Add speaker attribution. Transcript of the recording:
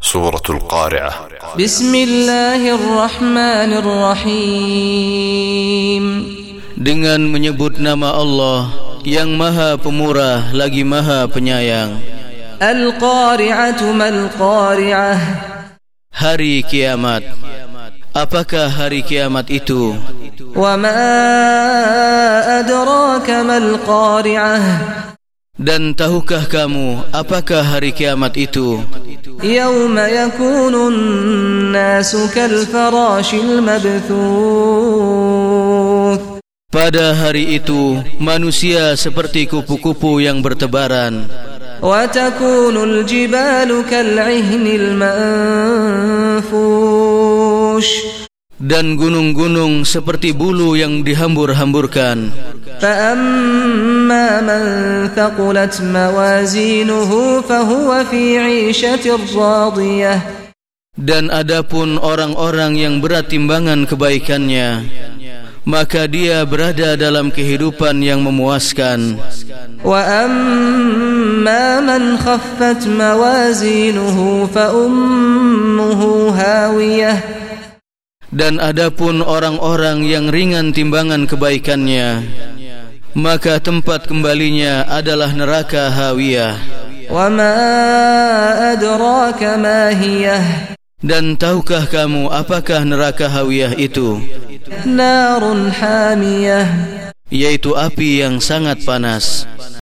Speaker 1: سورة القارعة
Speaker 2: بسم الله الرحمن الرحيم
Speaker 3: dengan menyebut nama Allah yang Maha Pemurah lagi Maha Penyayang.
Speaker 2: القارعة ما القارعة
Speaker 3: Hari kiamat. Apakah hari kiamat itu?
Speaker 2: وما أدراك ما القارعة
Speaker 3: Dan tahukah kamu apakah hari kiamat itu?
Speaker 2: يوم يكون الناس كالفراش المبثوث
Speaker 3: Pada hari itu manusia seperti kupu-kupu yang bertebaran
Speaker 2: وتكون الجبال كالعهن المنفوش
Speaker 3: dan gunung-gunung seperti bulu yang dihambur-hamburkan.
Speaker 2: فأما من ثقلت موازينه فهو في عيشة راضية
Speaker 3: Dan adapun orang-orang yang berat timbangan kebaikannya, maka dia berada dalam kehidupan yang memuaskan.
Speaker 2: وأما من خفت موازينه فأمه هاوية
Speaker 3: Dan adapun orang-orang yang ringan timbangan kebaikannya, maka tempat kembalinya adalah neraka Hawiyah.
Speaker 2: وما أدراك ما هي
Speaker 3: Dan tahukah kamu apakah neraka Hawiyah itu?
Speaker 2: نار حامية
Speaker 3: Yaitu api yang sangat panas.